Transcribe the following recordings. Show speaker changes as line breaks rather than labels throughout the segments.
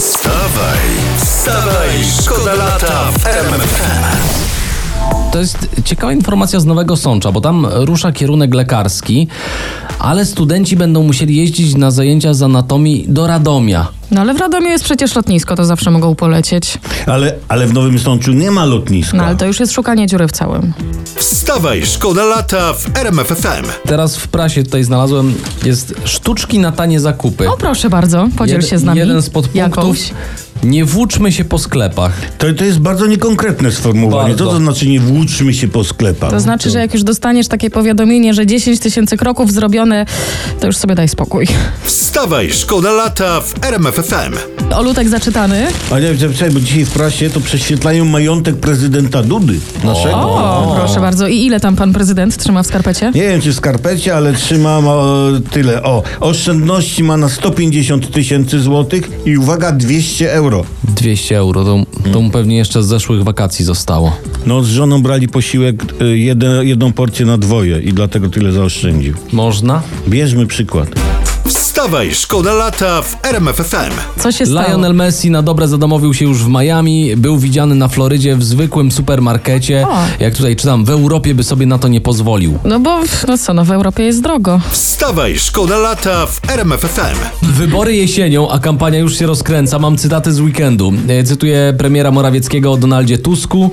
Wstawaj, wstawaj, szkoda lata w RMFFM.
To jest ciekawa informacja z Nowego Sącza, bo tam rusza kierunek lekarski, ale studenci będą musieli jeździć na zajęcia z anatomii do Radomia.
No ale w Radomiu jest przecież lotnisko, to zawsze mogą polecieć.
Ale, ale w Nowym Sączu nie ma lotniska.
No ale to już jest szukanie dziury w całym.
Wstawaj, szkoda lata w RMFFM.
Teraz w prasie tutaj znalazłem, jest sztuczki na tanie zakupy.
O No, proszę bardzo, podziel
Jed-
się z nami.
Jeden z podpunktów.
jakąś.
Nie włóczmy się po sklepach.
to, to jest bardzo niekonkretne sformułowanie.
Bardzo.
Co to znaczy nie włóczmy się po sklepach?
To znaczy, że jak już dostaniesz takie powiadomienie, że 10 tysięcy kroków zrobione, to już sobie daj spokój.
Wstawaj, szkoda lata w RMFFM.
Olutek zaczytany.
A nie, czekaj, bo dzisiaj w prasie to prześwietlają majątek prezydenta Dudy No. naszego.
O, proszę bardzo. I ile tam pan prezydent trzyma w skarpecie?
Nie wiem, czy w skarpecie, ale trzymam o, tyle. O, oszczędności ma na 150 tysięcy złotych i uwaga, 200 euro.
200 euro, to, to mu pewnie jeszcze z zeszłych wakacji zostało.
No, z żoną brali posiłek y, jeden, jedną porcję na dwoje i dlatego tyle zaoszczędził.
Można?
Bierzmy przykład.
Wstawaj, szkoda lata w RMFFM.
Co się stało?
Lionel Messi na dobre zadomowił się już w Miami, był widziany na Florydzie w zwykłym supermarkecie.
O.
Jak tutaj czytam, w Europie by sobie na to nie pozwolił.
No bo, no co, no w Europie jest drogo.
Wstawaj, szkoda lata w RMFFM.
Wybory jesienią, a kampania już się rozkręca. Mam cytaty z weekendu. E, Cytuję premiera Morawieckiego o Donaldzie Tusku.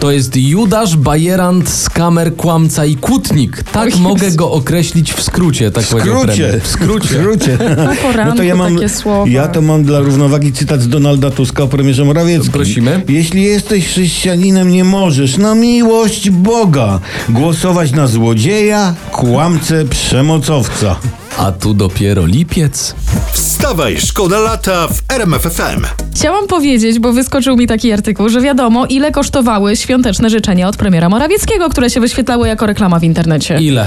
To jest Judasz, bajerant, skamer, kłamca i kłótnik. Tak
Jezu.
mogę go określić w skrócie, tak powiedział premier.
W skrócie. W skrócie.
No,
No
poranku takie słowa.
ja to mam dla równowagi cytat z Donalda Tuska o premierze Morawieckim.
Prosimy.
Jeśli jesteś chrześcijaninem, nie możesz na miłość Boga głosować na złodzieja, kłamcę, przemocowca.
A tu dopiero lipiec.
Wstawaj, szkoda lata w RMFFM.
Chciałam powiedzieć, bo wyskoczył mi taki artykuł, że wiadomo, ile kosztowały świąteczne życzenia od premiera Morawieckiego, które się wyświetlały jako reklama w internecie.
Ile?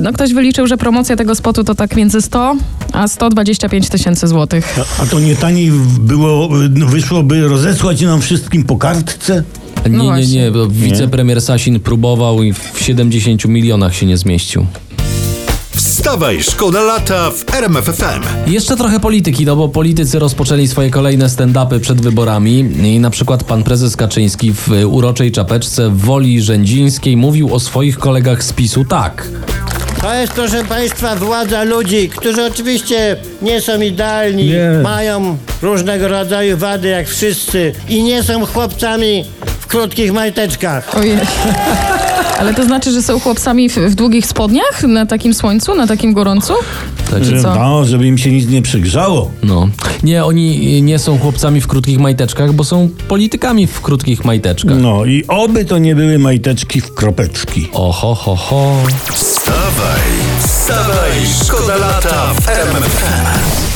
No ktoś wyliczył, że promocja tego spotu to tak między 100 a 125 tysięcy złotych.
A to nie taniej było, no, wyszłoby rozesłać nam wszystkim po kartce?
Nie, nie, nie.
właśnie.
bo Wicepremier Sasin próbował i w 70 milionach się nie zmieścił.
Wstawaj, szkoda lata w RMFFM.
Jeszcze trochę polityki, no bo politycy rozpoczęli swoje kolejne stand-upy przed wyborami i na przykład pan prezes Kaczyński w y, uroczej czapeczce w Woli Rzędzińskiej mówił o swoich kolegach z PiSu tak.
To jest, proszę Państwa, władza ludzi, którzy oczywiście nie są idealni, mają różnego rodzaju wady jak wszyscy i nie są chłopcami w krótkich majteczkach.
Ojej. Ale to znaczy, że są chłopcami w, w długich spodniach? Na takim słońcu? Na takim gorącu?
Tak,
Że,
co?
no, żeby im się nic nie przygrzało.
No. Nie, oni y, nie są chłopcami w krótkich majteczkach, bo są politykami w krótkich majteczkach.
No i oby to nie były majteczki w kropeczki.
Oho, ho, ho.
Wstawaj, wstawaj, szkoda lata w RMFFM.